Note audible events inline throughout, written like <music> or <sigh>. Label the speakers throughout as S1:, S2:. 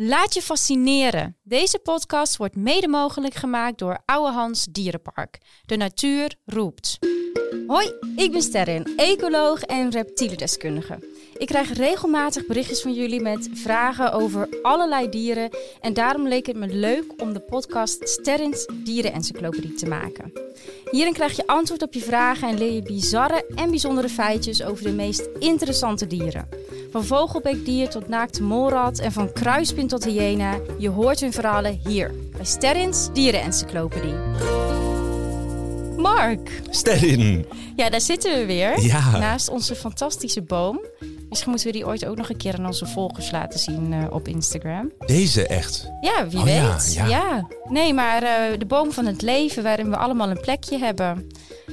S1: Laat je fascineren. Deze podcast wordt mede mogelijk gemaakt door Oude Hans Dierenpark. De natuur roept.
S2: Hoi, ik ben Sterren, ecoloog en reptielendeskundige. Ik krijg regelmatig berichtjes van jullie met vragen over allerlei dieren. En daarom leek het me leuk om de podcast Sterrens Dierenencyclopedie te maken. Hierin krijg je antwoord op je vragen en leer je bizarre en bijzondere feitjes over de meest interessante dieren. Van vogelbeekdier tot naakte molrat en van kruispin tot hyena. Je hoort hun verhalen hier bij Sterrens Dierenencyclopedie. Mark,
S3: Sterrin.
S2: ja, daar zitten we weer.
S3: Ja.
S2: Naast onze fantastische boom. Misschien moeten we die ooit ook nog een keer aan onze volgers laten zien eh, op Instagram.
S3: Deze echt.
S2: Ja, wie
S3: Oh ja,
S2: weet.
S3: ja.
S2: Nee, maar eh, de boom van het leven waarin we allemaal een plekje hebben.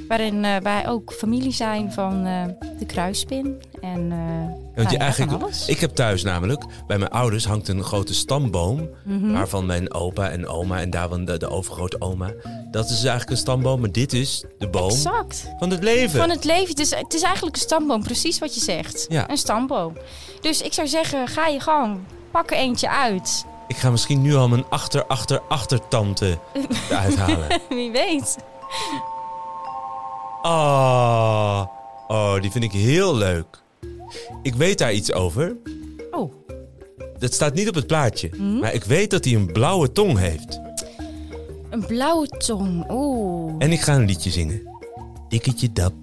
S2: Waarin eh, wij ook familie zijn van eh, de kruispin. En, eh, nou
S3: Want je
S2: ja, van
S3: eigenlijk,
S2: alles.
S3: ik heb thuis namelijk, bij mijn ouders hangt een grote stamboom.
S2: Mhm.
S3: Waarvan mijn opa en oma en daarvan de, de overgrote oma. Dat is dus eigenlijk een stamboom, maar dit is de boom
S2: Exact.
S3: van het leven.
S2: Van het leven. Het is, het is eigenlijk een stamboom, precies wat je zegt.
S3: Ja.
S2: Een stamboom. Dus ik zou zeggen, ga je gang. Pak er eentje uit. <laughs>
S3: Ik ga misschien nu al mijn achter, achter, achtertante eruit halen.
S2: Wie weet.
S3: Oh, oh, die vind ik heel leuk. Ik weet daar iets over.
S2: Oh.
S3: Dat staat niet op het plaatje.
S2: Mhm.
S3: Maar ik weet dat hij een blauwe tong heeft.
S2: Een blauwe tong. Oeh.
S3: En ik ga een liedje zingen. Dikketje Dap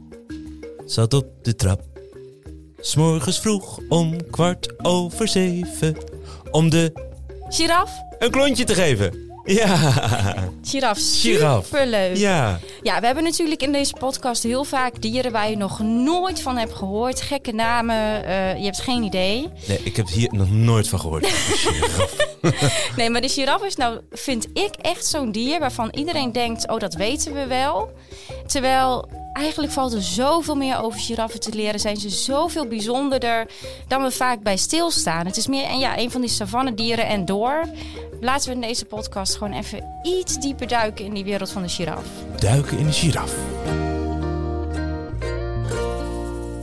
S3: zat op de trap. S'morgens vroeg om kwart over zeven. Om de
S2: Giraf?
S3: een klontje te geven. Ja,
S2: Giraf.
S3: Giraf.
S2: Superleuk. Ja.
S3: ja.
S2: we hebben natuurlijk in deze podcast heel vaak dieren waar je nog nooit van hebt gehoord. Gekke namen. eh, je hebt geen idee.
S3: Nee, ik heb hier nog nooit van gehoord.
S2: Nee, maar de giraf is nou, vind ik echt zo'n dier waarvan iedereen denkt, oh dat weten we wel. Terwijl eigenlijk valt er zoveel meer over giraffen te leren. Zijn ze zoveel bijzonderder dan we vaak bij stilstaan. Het is meer en ja, een van die savannedieren en door. Laten we in deze podcast gewoon even iets dieper duiken in die wereld van de giraf.
S3: Duiken in een giraf.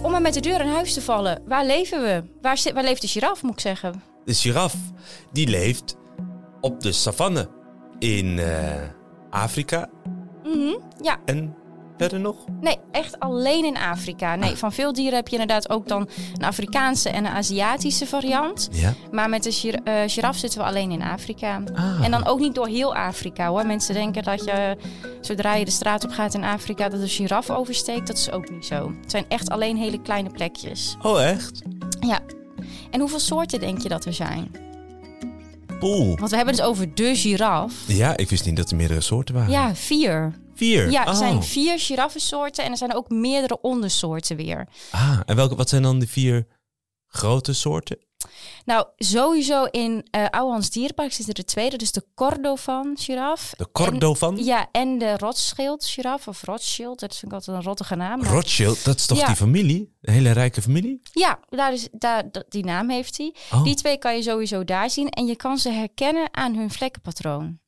S2: Om maar met de deur in huis te vallen, waar leven we? Waar, zit, waar leeft de giraf, moet ik zeggen?
S3: De giraf, die leeft op de savanne in eh, Afrika
S2: Mhm, Ja,
S3: en verder nog.
S2: Nee, echt alleen in Afrika. Nee, van veel dieren heb je inderdaad ook dan een Afrikaanse en een Aziatische variant.
S3: Ja.
S2: Maar met de gir- eh, giraf zitten we alleen in Afrika.
S3: Ah.
S2: En dan ook niet door heel Afrika hoor. Mensen denken dat je, zodra je de straat op gaat in Afrika, dat de giraf oversteekt. Dat is ook niet zo. Het zijn echt alleen hele kleine plekjes.
S3: Oh, echt?
S2: Ja. En hoeveel soorten denk je dat er zijn?
S3: Poel.
S2: Want we hebben het over de giraf.
S3: Ja, ik wist niet dat er meerdere soorten waren.
S2: Ja, vier.
S3: Vier?
S2: Ja, er
S3: Oh.
S2: zijn vier giraffensoorten en er zijn ook meerdere ondersoorten weer.
S3: Ah, en welke, wat zijn dan de vier grote soorten?
S2: Nou, sowieso in eh Ouwehans Dierpark zitten er twee. Dat is de Cordovan-giraf.
S3: De Cordovan?
S2: Ja, en de Rothschild-giraf. Of Rothschild, dat vind ik altijd een rottige naam. maar-
S3: Rothschild, dat is toch
S2: Ja.
S3: die familie? Een hele rijke familie?
S2: Ja, daar is, daar, dat- die naam heeft hij.
S3: Oh,
S2: Die twee kan je sowieso daar zien. En je kan ze herkennen aan hun vlekkenpatroon.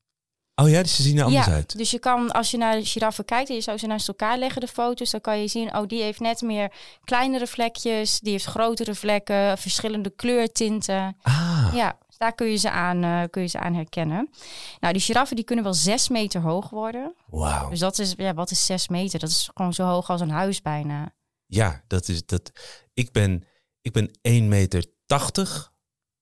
S3: oh ja, dus ze zien er anders
S2: ja,
S3: uit.
S2: dus je kan, als je naar de giraffen kijkt en je zou ze naast elkaar leggen, de foto's, dan kan je zien, oh, die heeft net meer kleinere vlekjes, die heeft grotere vlekken, verschillende kleurtinten.
S3: Ah,
S2: Ja, dus daar kun je, ze aan, eh, kun je ze aan herkennen. Nou, die giraffen die kunnen wel zes meter hoog worden.
S3: wauw.
S2: Dus dat is, ja, wat is zes meter? Dat is gewoon zo hoog als een huis bijna.
S3: Ja, dat is dat. Ik ben, ik ben 1,80 meter.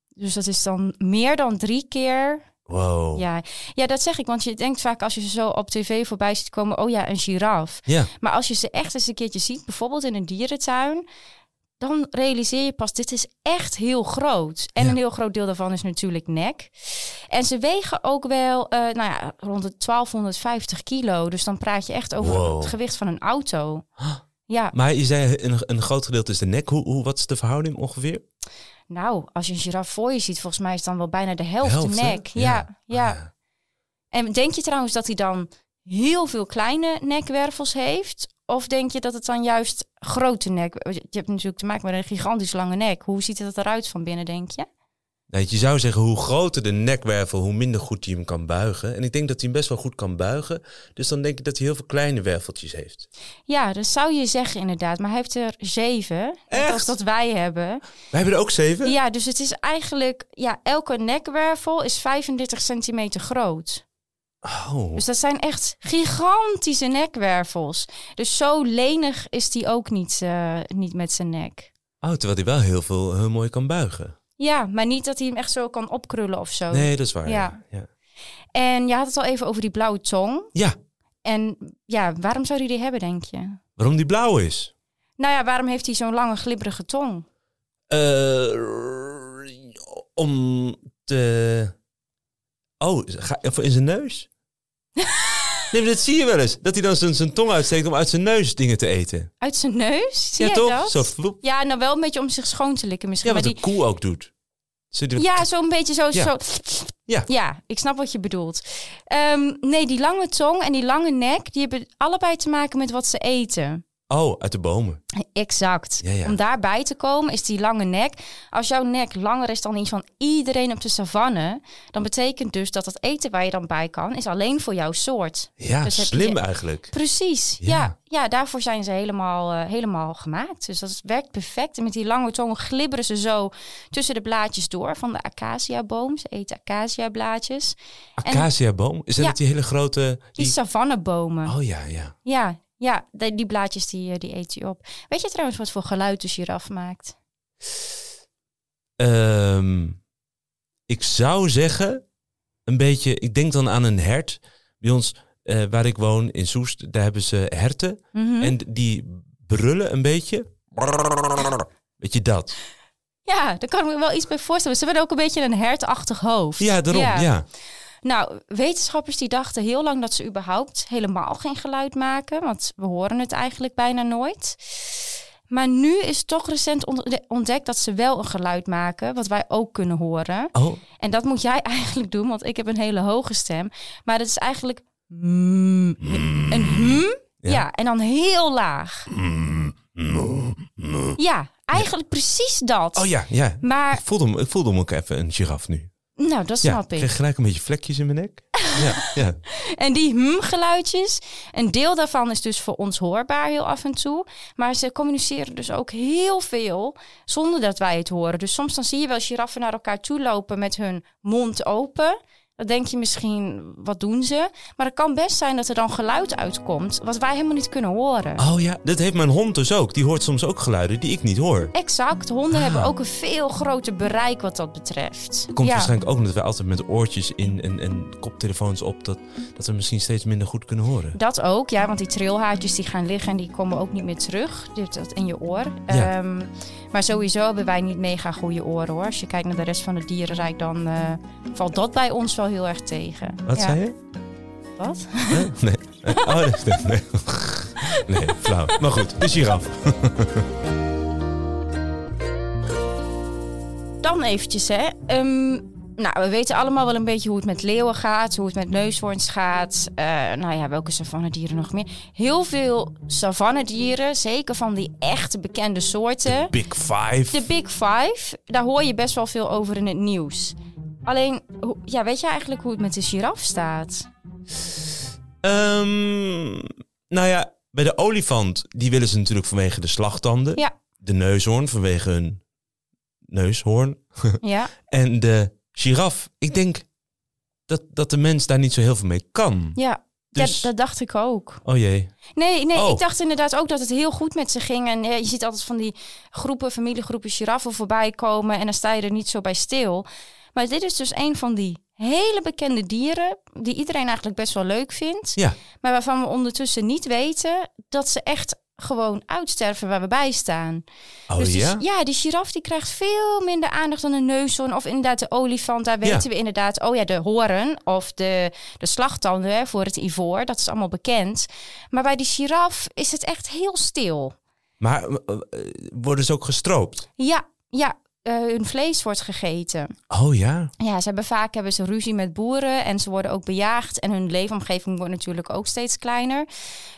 S2: Dus dat is dan meer dan drie keer.
S3: Wow.
S2: Ja. ja, dat zeg ik. Want je denkt vaak als je ze zo op tv voorbij ziet komen, oh ja, een giraf.
S3: Ja.
S2: Maar als je ze echt eens een keertje ziet, bijvoorbeeld in een dierentuin, dan realiseer je pas, dit is echt heel groot. En
S3: Ja.
S2: een heel groot deel daarvan is natuurlijk nek. En ze wegen ook wel, eh, nou ja, rond de 1250 kilo. Dus dan praat je echt over
S3: Wow.
S2: het gewicht van een auto. Ja,
S3: Maar je zei een, een groot gedeelte is de nek. Hoe, hoe, wat is de verhouding ongeveer?
S2: nou, als je een giraf voor je ziet, volgens mij is dan wel bijna de helft,
S3: Helft,
S2: de
S3: hè?
S2: nek.
S3: Ja.
S2: ja. ja.
S3: Ah,
S2: En denk je trouwens dat hij dan heel veel kleine nekwervels heeft? Of denk je dat het dan juist grote nek... Je hebt natuurlijk te maken met een gigantisch lange nek. Hoe ziet het eruit van binnen, denk je?
S3: Nou, je zou zeggen, hoe groter de nekwervel, hoe minder goed hij hem kan buigen. En ik denk dat hij hem best wel goed kan buigen. Dus dan denk ik dat hij heel veel kleine werveltjes heeft.
S2: Ja, dat zou je zeggen inderdaad. Maar hij heeft er zeven. Net als
S3: Echt?
S2: dat wij hebben.
S3: Wij hebben er ook zeven.
S2: Ja, dus het is eigenlijk... Ja, elke nekwervel is 35 centimeter groot.
S3: Oh.
S2: Dus dat zijn echt gigantische nekwervels. Dus zo lenig is die ook niet, eh, niet met zijn nek.
S3: oh, terwijl hij wel heel veel heel mooi kan buigen.
S2: Ja, maar niet dat hij hem echt zo kan opkrullen of zo.
S3: Nee, dat is waar.
S2: Oh. Ja.
S3: Ja. ja.
S2: En je had het al even over die blauwe tong.
S3: Ja,
S2: En ja, waarom zou hij die hebben, denk je?
S3: waarom die blauw is?
S2: Nou ja, waarom heeft hij zo'n lange glibberige tong?
S3: Eh, om te... Oh, ga, of in zijn
S2: <laughs>
S3: neus? nee, maar dat zie je wel eens. Dat hij dan zijn- zijn tong uitsteekt om uit zijn neus dingen te eten.
S2: Uit zijn neus? <laughs> Zie
S3: ja,
S2: jij
S3: toch?
S2: dat?
S3: Zo vloep.
S2: Ja, nou wel een beetje om zich schoon te likken misschien.
S3: Ja,
S2: maar
S3: wat een koe ook doet. Zit er-
S2: die... ja zo'n beetje zo...
S3: Ja.
S2: zo...
S3: Ja.
S2: ik snap wat je bedoelt. Ehm, nee, die lange tong en die lange nek... die hebben allebei te maken met wat ze eten.
S3: Oh, uit de bomen.
S2: Exact.
S3: Ja, ja.
S2: Om daarbij te komen is die lange nek. Als jouw nek langer is dan die van iedereen op de savanne, dan betekent dus dat het eten waar je dan bij kan, is alleen voor jouw soort.
S3: Ja,
S2: Dus heb
S3: slim
S2: je-
S3: eigenlijk.
S2: Precies.
S3: Ja.
S2: Ja, ja, daarvoor zijn ze helemaal, eh, helemaal gemaakt. Dus dat werkt perfect. En met die lange tongen glibberen ze zo tussen de blaadjes door van de acaciaboom. Ze eten acaciablaadjes. En-
S3: Acacia-boom? Is dat
S2: Ja.
S3: niet die hele grote...
S2: Die
S3: Die...
S2: savannebomen.
S3: Oh ja, ja.
S2: Ja, ja die, die blaadjes die, eh, die eet je op. Weet je trouwens wat voor geluid de giraf maakt?
S3: Ehm, ik zou zeggen, een beetje... Ik denk dan aan een hert. Bij ons, eh, waar ik woon in Soest, daar hebben ze herten.
S2: Mhm.
S3: En die brullen een beetje. Weet je dat?
S2: Ja, daar kan ik me wel iets bij voorstellen. Ze hebben ook een beetje een hertachtig hoofd.
S3: Ja, daarom, ja. ja.
S2: Nou, wetenschappers die dachten heel lang dat ze überhaupt helemaal geen geluid maken. Want we horen het eigenlijk bijna nooit. Maar nu is toch recent ont- ontdekt dat ze wel een geluid maken, wat wij ook kunnen horen.
S3: Oh,
S2: En dat moet jij <laughs> eigenlijk doen, want ik heb een hele hoge stem. Maar dat is eigenlijk mm, een hmm.
S3: Mm. Ja. Mm,
S2: Ja. en dan heel laag. Ja, eigenlijk precies dat.
S3: oh ja, ja.
S2: Maar
S3: Ik voelde, hem, ik voelde hem ook even een giraf nu.
S2: Nou, dat
S3: Ja,
S2: snap
S3: ik
S2: ik.
S3: kreeg gelijk een beetje vlekjes in mijn nek. Ja, ja.
S2: En die hm-geluidjes, een deel daarvan is dus voor ons hoorbaar heel af en toe. Maar ze communiceren dus ook heel veel zonder dat wij het horen. Dus soms dan zie je wel giraffen naar elkaar toe lopen met hun mond open. Dan denk je misschien, wat doen ze? Maar het kan best zijn dat er dan geluid uitkomt wat wij helemaal niet kunnen horen.
S3: Oh ja, dat heeft mijn hond dus ook. Die hoort soms ook geluiden die ik niet hoor.
S2: Exact, honden
S3: Ah.
S2: hebben ook een veel groter bereik wat dat betreft.
S3: Komt
S2: ja.
S3: waarschijnlijk ook omdat wij altijd met oortjes in en, en koptelefoons op... Dat, dat we misschien steeds minder goed kunnen horen.
S2: Dat ook, ja, want die trilhaartjes die gaan liggen en die komen ook niet meer terug. Je hebt dat in je oor.
S3: Ja.
S2: Ehm, maar sowieso hebben wij niet mega goede oren hoor. Als je kijkt naar de rest van het dierenrijk, dan eh, valt dat bij ons wel heel erg tegen.
S3: Wat
S2: ja.
S3: zei je?
S2: <laughs> Wat?
S3: Huh? Nee. Oh, nee, nee, nee. Nee, flauw. Maar goed, dus de giraf.
S2: Dan eventjes hè. Ehm, nou, we weten allemaal wel een beetje hoe het met leeuwen gaat, hoe het met neushoorns gaat. Eh, nou ja, welke savannedieren nog meer. Heel veel savannedieren, zeker van die echte bekende soorten.
S3: Big Five.
S2: De Big Five, daar hoor je best wel veel over in het nieuws. Alleen, hoe- ja, weet je eigenlijk hoe het met de giraf
S3: <laughs>
S2: staat?
S3: Ehm, nou ja, bij de olifant, die willen ze natuurlijk vanwege de slagtanden.
S2: Ja.
S3: De neushoorn vanwege hun neushoorn.
S2: Ja,
S3: En de giraf, ik denk dat, dat de mens daar niet zo heel veel mee kan.
S2: ja.
S3: Dus,
S2: ja dat dacht ik ook.
S3: oh jee.
S2: Nee, nee
S3: Oh.
S2: ik dacht inderdaad ook dat het heel goed met ze ging. En eh, je ziet altijd van die groepen, familiegroepen giraffen voorbij komen. En dan sta je er niet zo bij stil. Maar dit is dus een van die hele bekende dieren... die iedereen eigenlijk best wel leuk vindt.
S3: Ja.
S2: Maar waarvan we ondertussen niet weten dat ze echt gewoon uitsterven waar we bij staan.
S3: Oh
S2: Dus die-
S3: ja?
S2: ja, die giraf die krijgt veel minder aandacht dan een neushoorn of inderdaad de olifant. Daar weten we inderdaad, oh ja, de horen of de, de slagtanden hè, voor het ivoor. Dat is allemaal bekend. Maar bij die giraf is het echt heel stil.
S3: Maar eh, eh, worden ze ook gestroopt?
S2: Ja, ja. eh, eh, hun vlees wordt gegeten.
S3: Oh ja.
S2: Ja, ze hebben vaak hebben ze ruzie met boeren en ze worden ook bejaagd. En hun leefomgeving wordt natuurlijk ook steeds kleiner.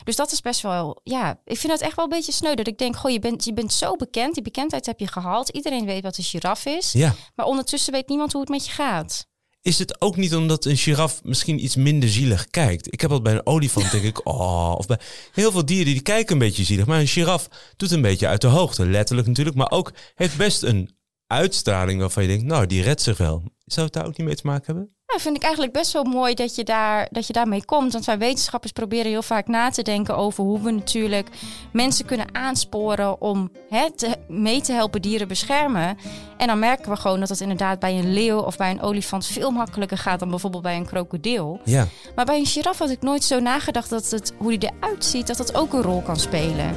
S2: Dus dat is best wel, ja, ik vind dat echt wel een beetje sneu. Dat ik denk, goh, je bent, je bent zo bekend, die bekendheid heb je gehaald. Iedereen weet wat een giraf is.
S3: Ja.
S2: Maar ondertussen weet niemand hoe het met je gaat.
S3: Is het ook niet omdat een giraf misschien iets minder zielig kijkt? Ik heb dat bij een olifant, denk ik, oh. Of bij heel veel dieren die kijken een beetje zielig. Maar een giraf doet een beetje uit de hoogte, letterlijk natuurlijk. Maar ook heeft best een uitstraling waarvan je denkt, nou, die redt zich wel. Zou het daar ook niet mee te maken hebben?
S2: Ja, Nou, vind ik eigenlijk best wel mooi dat je, daar, dat je daarmee komt. Want wij wetenschappers proberen heel vaak na te denken over hoe we natuurlijk mensen kunnen aansporen om hè, te- mee te helpen dieren beschermen. En dan merken we gewoon dat dat inderdaad bij een leeuw of bij een olifant veel makkelijker gaat dan bijvoorbeeld bij een krokodil.
S3: Ja.
S2: Maar bij een giraf had ik nooit zo nagedacht dat het, hoe die eruit ziet, dat dat ook een rol kan spelen.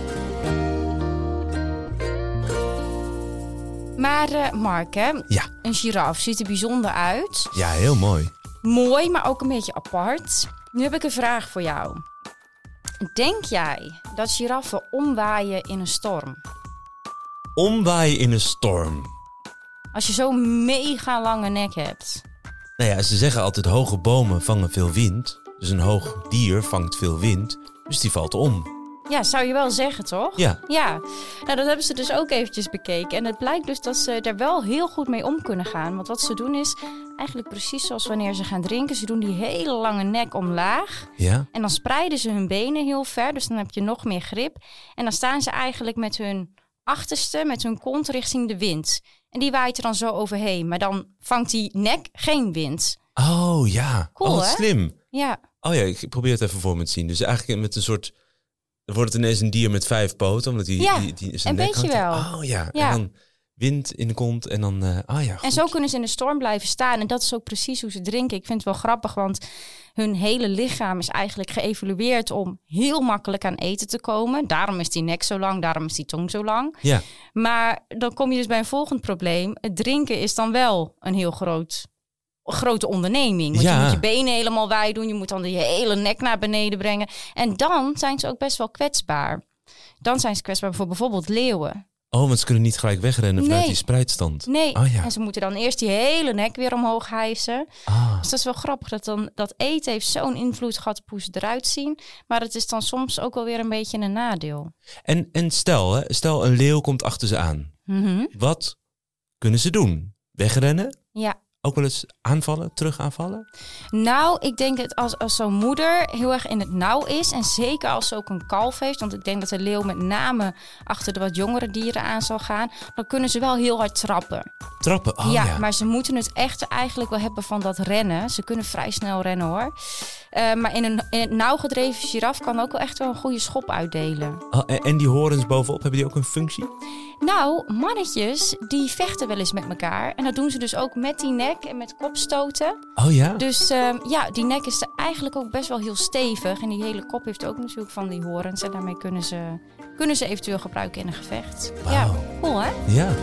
S2: Maar eh, Mark, hè?
S3: Ja.
S2: een giraf ziet er bijzonder uit.
S3: Ja, heel mooi.
S2: Mooi, maar ook een beetje apart. Nu heb ik een vraag voor jou. Denk jij dat giraffen omwaaien in een storm?
S3: Omwaaien in een storm.
S2: Als je zo'n mega lange nek hebt.
S3: Nou ja, ze zeggen altijd hoge bomen vangen veel wind. Dus een hoog dier vangt veel wind. Dus die valt om.
S2: Ja, zou je wel zeggen, toch?
S3: Ja.
S2: Ja, nou dat hebben ze dus ook eventjes bekeken. En het blijkt dus dat ze daar wel heel goed mee om kunnen gaan. Want wat ze doen is eigenlijk precies zoals wanneer ze gaan drinken. Ze doen die hele lange nek omlaag.
S3: Ja.
S2: En dan spreiden ze hun benen heel ver. Dus dan heb je nog meer grip. En dan staan ze eigenlijk met hun achterste, met hun kont richting de wind. En die waait er dan zo overheen. Maar dan vangt die nek geen wind.
S3: Oh ja.
S2: Cool,
S3: oh, wat
S2: hè?
S3: slim.
S2: Ja,
S3: Oh ja, ik probeer het even voor me te zien. Dus eigenlijk met een soort... Dan wordt het ineens een dier met vijf poten. Omdat die,
S2: Ja,
S3: die, die zijn
S2: een
S3: nek
S2: beetje
S3: hangt.
S2: wel.
S3: Oh ja.
S2: Ja.
S3: En dan wind in de kont. En dan... eh, oh ja,
S2: En
S3: goed.
S2: zo kunnen ze in de storm blijven staan. En dat is ook precies hoe ze drinken. Ik vind het wel grappig, want hun hele lichaam is eigenlijk geëvolueerd om heel makkelijk aan eten te komen. Daarom is die nek zo lang, daarom is die tong zo lang.
S3: Ja.
S2: Maar dan kom je dus bij een volgend probleem. Het drinken is dan wel een heel groot grote onderneming. Want
S3: Ja.
S2: je moet je benen helemaal wijd doen. Je moet dan je hele nek naar beneden brengen. En dan zijn ze ook best wel kwetsbaar. Dan zijn ze kwetsbaar voor bijvoorbeeld leeuwen.
S3: Oh, want ze kunnen niet gelijk wegrennen vanuit
S2: Nee.
S3: die spreidstand.
S2: Nee,
S3: Oh ja.
S2: en ze moeten dan eerst die hele nek weer omhoog hijsen.
S3: Ah.
S2: Dus dat is wel grappig dat dan dat eten heeft zo'n invloed gehad op hoe ze eruit zien. Maar het is dan soms ook wel weer een beetje een nadeel.
S3: En, en stel, hè, stel een leeuw komt achter ze aan.
S2: Mhm.
S3: Wat kunnen ze doen? Wegrennen?
S2: Ja.
S3: Ook wel eens aanvallen? Terug aanvallen?
S2: Nou, ik denk dat als, als zo'n moeder heel erg in het nauw is. En zeker als ze ook een kalf heeft. Want ik denk dat de leeuw met name achter de wat jongere dieren aan zal gaan. Dan kunnen ze wel heel hard trappen.
S3: Trappen? Oh ja.
S2: ja, maar ze moeten het echt eigenlijk wel hebben van dat rennen. Ze kunnen vrij snel rennen hoor. Eh, maar in een in het nauwgedreven giraf kan ook wel echt wel een goede schop uitdelen.
S3: Oh, en, en die horens bovenop, hebben die ook een functie?
S2: Nou, mannetjes die vechten wel eens met elkaar. En dat doen ze dus ook met die nek en met kopstoten.
S3: Oh ja?
S2: Dus eh, ja, die nek is er eigenlijk ook best wel heel stevig. En die hele kop heeft ook natuurlijk van die horens. En daarmee kunnen ze, kunnen ze eventueel gebruiken in een gevecht. Ja,
S3: Wauw.
S2: cool hè?
S3: Ja.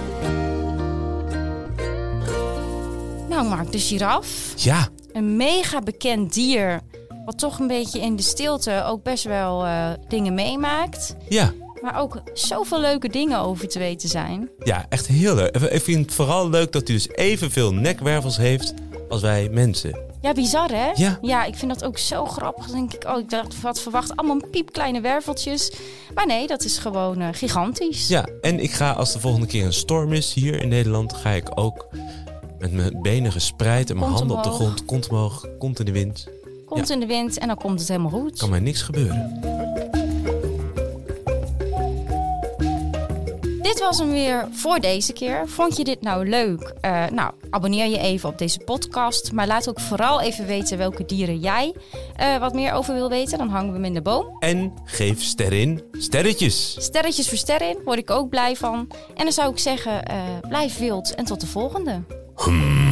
S2: Nou Mark, de giraf.
S3: Ja.
S2: een mega bekend dier. Wat toch een beetje in de stilte ook best wel eh, dingen meemaakt.
S3: Ja.
S2: Maar ook zoveel leuke dingen over te weten zijn.
S3: Ja, echt heel leuk. Ik vind het vooral leuk dat hij dus evenveel nekwervels heeft als wij mensen.
S2: Ja, bizar hè?
S3: Ja.
S2: ik vind dat ook zo grappig. Dan denk ik, oh, ik dacht, wat verwacht allemaal piepkleine werveltjes. Maar nee, dat is gewoon eh, gigantisch.
S3: Ja, en ik ga als de volgende keer een storm is hier in Nederland, ga ik ook met mijn benen gespreid en mijn
S2: Kont
S3: handen op de
S2: omhoog.
S3: grond, kont omhoog, kont in de wind.
S2: Komt in de wind en dan komt het helemaal goed.
S3: Kan mij niks gebeuren.
S2: Dit was hem weer voor deze keer. Vond je dit nou leuk? Eh, nou, abonneer je even op deze podcast. Maar laat ook vooral even weten welke dieren jij eh, wat meer over wil weten. Dan hangen we hem in de boom.
S3: En geef ster in sterretjes.
S2: Sterretjes voor sterren, word ik ook blij van. En dan zou ik zeggen, eh, blijf wild en tot de volgende.
S3: Hmm.